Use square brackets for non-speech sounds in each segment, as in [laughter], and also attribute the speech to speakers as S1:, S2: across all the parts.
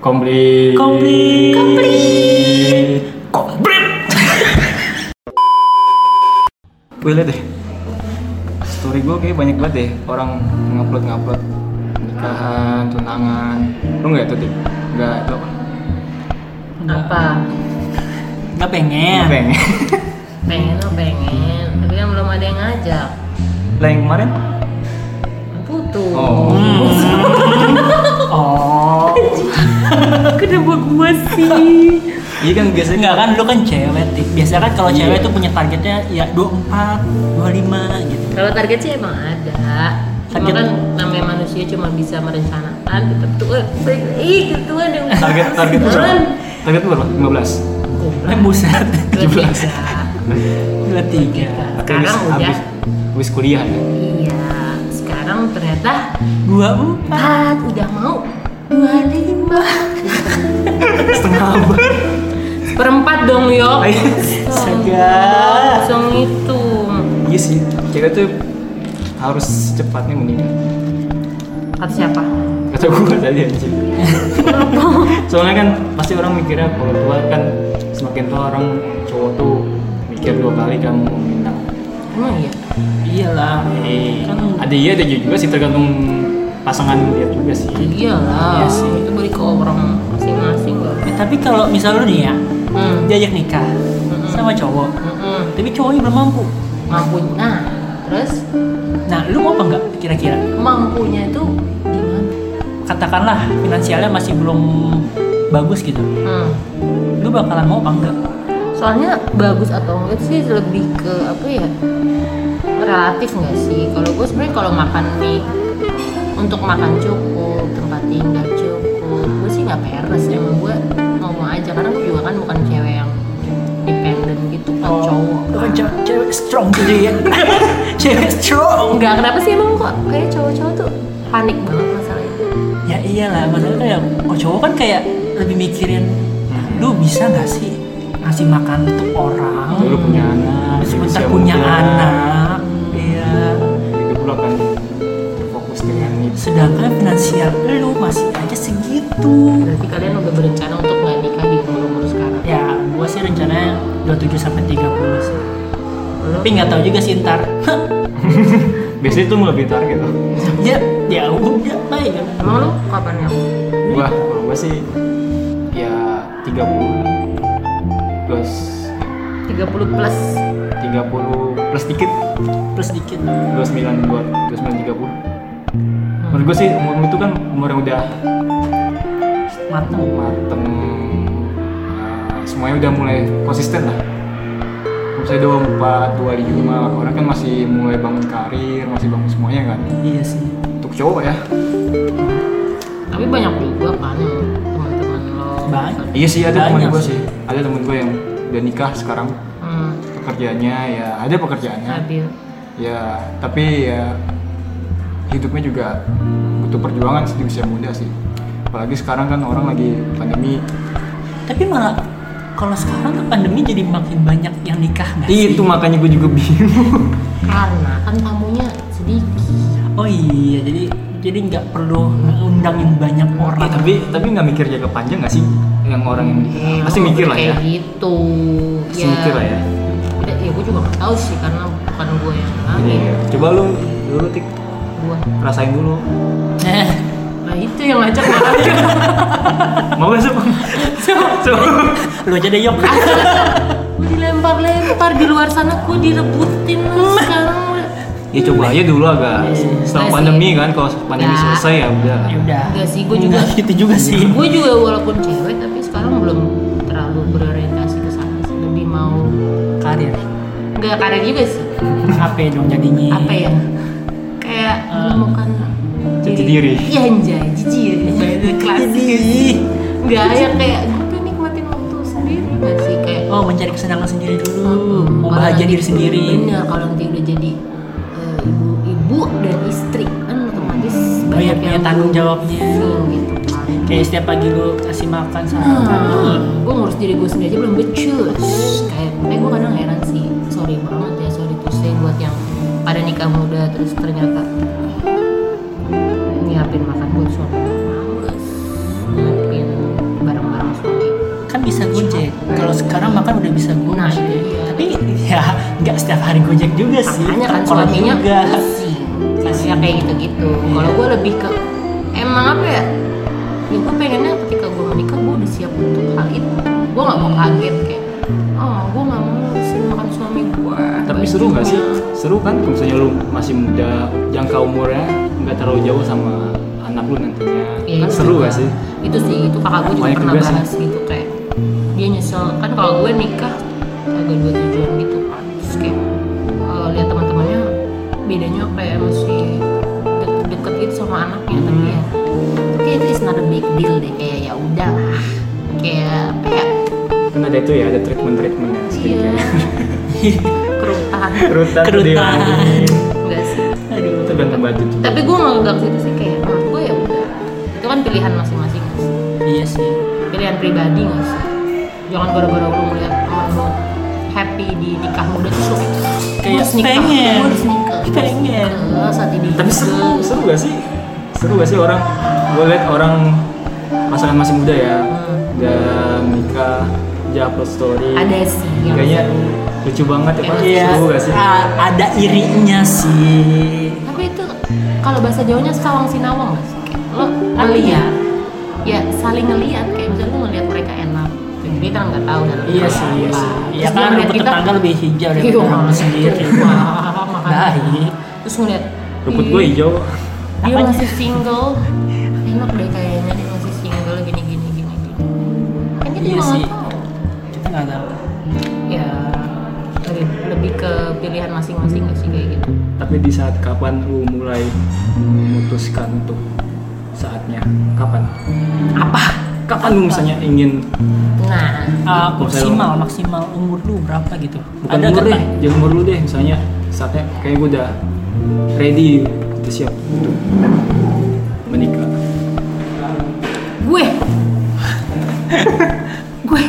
S1: Komplit.
S2: Komplit.
S1: Komplit. Komplit. Gue liat deh. Story gue kayak banyak banget deh orang ngupload ngupload nikahan, tunangan. Lu nggak itu tik? Nggak itu apa?
S2: apa
S3: Nggak
S2: Iya.
S3: pengen.
S1: Ngebeng.
S2: [laughs] pengen lo pengen tapi kan belum ada yang ngajak
S1: lah yang kemarin?
S2: putus
S1: Oh.
S2: Hmm.
S3: Oh.
S2: [laughs] kenapa gua sih
S1: Iya kan biasanya
S3: Enggak kan lu kan cewek. Tik. Biasanya kan kalau cewek tuh punya targetnya ya 24, 25 gitu.
S2: kalau target sih emang ada cuma
S3: Target.
S2: kan namanya manusia cuma bisa merencanakan tetap tuh eh, baik- ih ketuan yang
S1: Eh, target target lu berapa? Target lu berapa? 15.
S3: Eh buset. 23.
S2: 17
S1: Oke,
S2: sekarang
S1: wis-
S2: udah
S1: habis- Habis kuliah
S2: [laughs]
S1: ya.
S2: iya sekarang ternyata
S3: 24.
S2: empat udah mau dua lima
S1: Setengah abad.
S2: perempat dong yo
S1: Ayo.
S3: Astaga.
S2: langsung itu
S1: Iya sih, cewek tuh harus secepatnya menikah.
S2: kata siapa
S1: kata gue tadi anjing soalnya kan pasti orang mikirnya kalau tua kan semakin tua orang cowok tuh mikir dua kali kan mau minta
S2: emang iya
S3: Iyalah.
S1: Eh,
S3: Kan-
S1: ada iya ada iya juga sih tergantung pasangan dia juga sih
S2: iyalah
S3: Iya sih.
S2: itu balik ke orang masing-masing loh
S3: Eh, tapi kalau misal lu nih ya
S2: hmm.
S3: diajak nikah
S2: Mm-mm.
S3: sama cowok,
S2: Mm-mm.
S3: tapi cowoknya belum mampu.
S2: mampunya nah terus
S3: Nah, lu mau apa enggak kira-kira?
S2: mampunya itu gimana
S3: Katakanlah finansialnya masih belum bagus gitu.
S2: hmm.
S3: Lu bakalan mau apa enggak?
S2: soalnya bagus atau enggak sih lebih ke apa ya relatif nggak sih kalau gue sebenarnya kalau makan mie untuk makan cukup tempat tinggal cukup gue sih nggak peres emang gue ngomong aja karena gue juga kan bukan cewek yang dependen gitu kan cowok
S3: Lu kan cewek, cewek strong gitu ya. cewek strong.
S2: Enggak, kenapa sih emang kok kayak cowok-cowok tuh panik banget masalah itu?
S3: Ya iyalah, maksudnya kayak oh, cowok kan kayak lebih mikirin lu bisa nggak sih ngasih makan untuk orang?
S1: Tuh, lu punya anak
S3: Terus
S1: di
S3: bentar
S1: usia
S3: punya
S1: muda,
S3: anak. Iya.
S1: hidup lu akan terfokus kan dengan itu
S3: Sedangkan finansial lu masih aja segitu.
S2: Berarti kalian udah berencana untuk nggak nikah di umur-umur sekarang?
S3: Ya, gua sih rencananya 27 sampai 30 sih.
S2: Lo
S3: Tapi nggak tahu juga sih ntar.
S1: biasanya tuh lebih target loh
S3: ya, ya udah baik.
S2: emang lo kapan ya?
S1: gua kalau gua sih ya 30 plus
S2: 30 plus
S1: 30 plus dikit
S3: Plus dikit.
S1: 29 buat 29 30 menurut gue sih umur itu kan umur yang udah
S3: Matang.
S1: mateng eh, semuanya udah mulai konsisten lah Kalau misalnya 24, 25, orang kan masih mulai bangun karir, masih bangun semuanya kan
S3: Iya sih.
S1: Untuk cowok ya
S2: Tapi banyak juga kan yang teman-teman lo
S3: Banyak.
S1: Iya sih ada teman
S3: Banyak
S1: gue
S3: sih.
S1: sih Ada teman gue yang udah nikah sekarang
S2: Hmm,
S1: Pekerjaannya ya ada pekerjaannya
S2: stabil.
S1: Ya tapi ya hidupnya juga butuh perjuangan sih di usia muda sih Apalagi sekarang kan orang lagi pandemi
S3: Tapi malah kalau sekarang tuh pandemi jadi makin banyak yang nikah nggak sih?
S1: Itu makanya gue juga bingung
S2: Karena kan tamunya sedikit.
S3: Oh iya, jadi jadi nggak perlu ngundangin banyak orang.
S1: Iya,
S3: [laughs]
S1: tapi tapi nggak mikir jaga panjang nggak sih yang orang yang
S2: Eh, lo
S1: pasti
S2: nggak
S1: mikir
S2: boleh
S1: lah ya
S2: Kayak gitu.
S1: pasti mikir lah ya
S2: Udah, ya gue juga nggak tahu sih karena bukan gue yang ngalamin.
S1: Iya. coba lu dulu tik
S2: Gue.
S1: rasain dulu
S3: Eh,
S2: Nah itu yang ngajak makan.
S1: mau gak sih [laughs] coba
S3: lu aja deh yok.
S1: Iya.
S2: Gue dilempar-lempar di luar sana gue direbutin lah sekarang
S1: ya coba aja dulu agak setelah
S2: Nggak
S1: pandemi
S2: sih.
S1: kan kalau pandemi
S2: Nggak.
S1: selesai ya udah
S3: ya udah.
S2: Nggak sih, gua juga-
S3: Nggak gitu juga sih.
S1: Iya.
S2: gue juga walaupun cewek tapi sekarang belum terlalu berorientasi ke sana sih lebih mau
S3: Karir.
S2: nggak karir juga sih
S3: Apa dong
S1: Iya.
S3: jadinya?
S2: apa ya kayak menemukan
S1: jati diri.
S2: iya anjay jijik
S1: [laughs]
S2: ya
S3: Iya,
S2: nih, bahasa klasik ya
S3: Jadi.
S2: nggak yang kayak gue tuh nikmatin waktu sendiri nggak sih kayak
S3: Oh, mencari kesenangan sendiri dulu.
S2: Mm,
S3: Mau
S2: kalau
S3: bahagia
S2: nanti-
S3: diri sendiri.
S2: bener kalau nanti udah jadi eh, ibu-ibu dan istri kan otomatis
S3: Oh iya, punya tanggung jawabnya.
S2: pusing gitu kan
S3: Kayak setiap pagi lu kasih makan sarapan.
S2: Hmm, gue ngurus diri gue sendiri aja belum becus kayak makanya gue kadang heran sih sorry banget ya sorry tuh say buat yang pada nikah muda terus ternyata nyiapin makan buat suami males nyiapin
S3: kan bisa gojek
S2: Iya.
S3: kalau sekarang makan udah bisa gojek
S2: Nah, itu dia.
S3: tapi ya nggak setiap hari gojek juga sih
S2: makanya kan
S3: Kalau
S2: suaminya
S3: juga
S2: pusing Maksudnya kayak gitu-gitu
S3: Iya.
S2: kalau gue lebih ke emang apa ya ya gue pengennya ketika gue menikah gue udah siap untuk hal itu gue nggak mau kaget kayak oh gue nggak mau disuruh makan suami gue
S1: Tapi seru nggak sih? Seru kan kalau misalnya lu masih muda, jangka umurnya nggak terlalu jauh sama anak lu nantinya. kan
S2: Iya, itu
S1: seru
S2: juga.
S1: nggak sih?
S2: Itu sih, itu kakak gue juga
S1: Banyak
S2: pernah
S1: juga sih.
S2: bahas gitu kayak dia nyesel kan kalau gue nikah agak dua tujuan gitu kan terus kayak kalau lihat teman-temannya bedanya kayak masih de- deket gitu sama anaknya tapi ya kayak itu is not a big deal deh kayak ya udah kayak apa ya
S1: Kan ada itu ya, ada treatment-treatmentnya.
S2: iya
S1: skincare. [laughs]
S2: [laughs] kerutan
S1: Kerutan. tadi
S3: Kerutan.
S1: ngomongin.
S2: enggak sih
S3: aduh
S1: Itu gantung baju juga.
S2: tapi gue nggak gitu sih kayak menurut gue ya udah itu kan pilihan masing-masing nggak sih?
S3: iya sih
S2: pilihan pribadi nggak sih jangan gara-gara lu melihat teman lu happy di nikah muda terus lu kayak,
S3: Kayak
S2: "Gua harus nikah,
S3: pengen.
S2: gua harus nikah gua harus
S3: Pengen.
S2: nikah saat ini
S1: Tapi seru, seru gak sih? Seru gak sih orang? Gue liat orang pasangan masih muda ya,
S2: Hmm.
S1: dan nikah, dia upload story.
S2: ada sih yang
S1: Kayaknya lucu banget ya, Pak.
S3: Iya,
S1: Seru gak sih?
S3: a- ada irinya sih.
S2: tapi itu kalau bahasa jawanya sawang sinawang nggak sih Kayak lo ngeliat ya saling ngeliat kayak misalnya lu ngeliat mereka enak Dan kita nggak tahu dalam
S3: Iya
S2: hal
S3: sih,
S2: apa.
S3: iya sih. Iya
S2: Terus dia
S3: kan
S2: ngeliat
S3: rumput
S2: kita,
S3: tetangga lebih hijau
S2: "Iya,
S3: daripada
S2: makanya
S3: rumput sendiri.
S2: itu. Wah, makanya.
S3: Baik.
S2: terus ngeliat
S1: Ruput
S2: "Ih,
S1: gue hijau.
S2: dia
S3: Apanya?
S2: masih single enak deh kayaknya dia masih single gini gini gini gini kan kita
S3: Iya
S2: juga
S3: sih.
S2: nggak tahu
S3: Kita nggak tahu. Ah,
S2: ya lebih, lebih ke pilihan masing-masing gak sih kayak gitu
S1: Tapi di saat kapan lu mulai memutuskan untuk saatnya? Kapan?
S2: apa
S1: Kapan lu misalnya ingin
S2: nah
S3: Ah,
S1: Kalau saya-
S3: maksimal, maksimal umur lu berapa gitu?
S1: bukan
S3: ada
S1: umur ya?
S3: kata-
S1: deh, jangan umur lu deh misalnya saatnya kayak gue udah ready, udah siap untuk menikah.
S3: [laughs]
S2: gue gue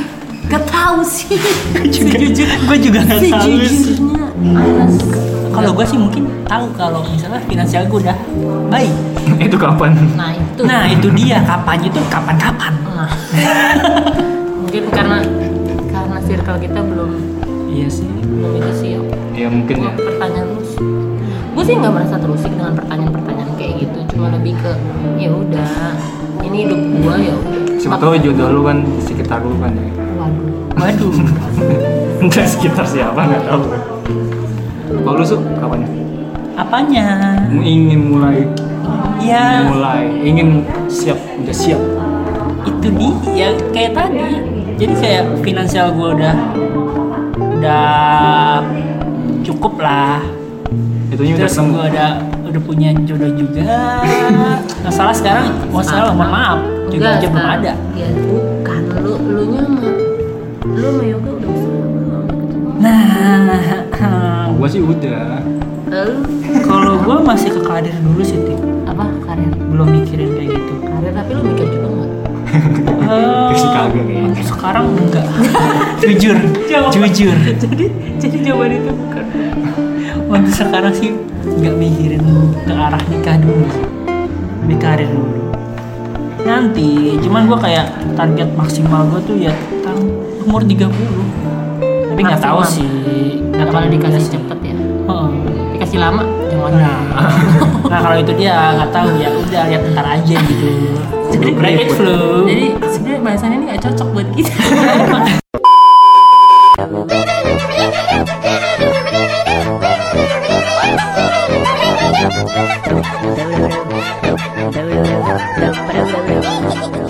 S2: gak tahu
S3: [laughs]
S2: sih
S3: Sejujur, gue juga nggak tahu sih.
S2: sejujurnya Anas
S3: Kalau gue sih mungkin tahu kalau misalnya finansial gue udah baik.
S1: [laughs] Itu kapan?
S2: nah itu
S3: Nah itu dia kapan itu kapan-kapan.
S2: Nah. [laughs] mungkin karena karena circle kita belum
S3: Iya sih.
S2: belum itu sih ya.
S1: Ya mungkin
S2: Gua
S1: ya.
S2: pertanyaan lu gue sih nggak merasa terusik dengan pertanyaan-pertanyaan kayak gitu cuma lebih ke ya udah ini hidup gue ya udah
S1: Siapa tahu jodoh lu kan di sekitar lu kan ya. [laughs]
S2: waduh
S3: Waduh.
S1: Entah sekitar siapa nggak tahu. Kalau lu Su, kapan?
S3: Apanya?
S1: Ingin mulai
S3: Ya.
S1: mulai ingin siap udah siap
S3: itu di ya kayak tadi jadi kayak finansial gue udah udah cukup lah
S1: itunya udah
S3: terus
S1: ketemu
S3: gue udah udah punya jodoh juga masalah sekarang masalah mohon maaf jodoh aja belum
S2: sekarang.
S3: ada
S2: ya bukan lu lu nya lu sama yoga udah bisa belum
S3: nah [laughs]
S1: gua sih udah
S2: lu
S3: kalau gue masih ke karir dulu sih Tim.
S2: apa karir
S3: belum mikirin kayak gitu
S2: karir tapi lu mikir juga nggak
S3: Eh,
S1: Sih kagak kayaknya.
S3: untuk sekarang [laughs] enggak jujur jujur [laughs] jadi jadi jawaban itu bukan untuk sekarang sih nggak mikirin ke arah nikah dulu di karir dulu nanti cuman gue kayak target maksimal gue tuh ya tahun umur 30 tapi nggak tahu
S2: Maksimal.
S3: sih nggak tahu
S2: nggak kalau
S3: juga
S2: dikasih
S3: sih.
S2: cepet ya
S3: Heeh.
S2: dikasih lama jangan
S3: nah, [laughs] nah kalau itu dia nggak tahu ya udah lihat ntar aja gitu jadi
S1: Belum
S3: break it
S1: ribut.
S3: flow
S2: jadi sebenarnya bahasanya ini gak cocok buat kita [laughs]
S4: Thank you.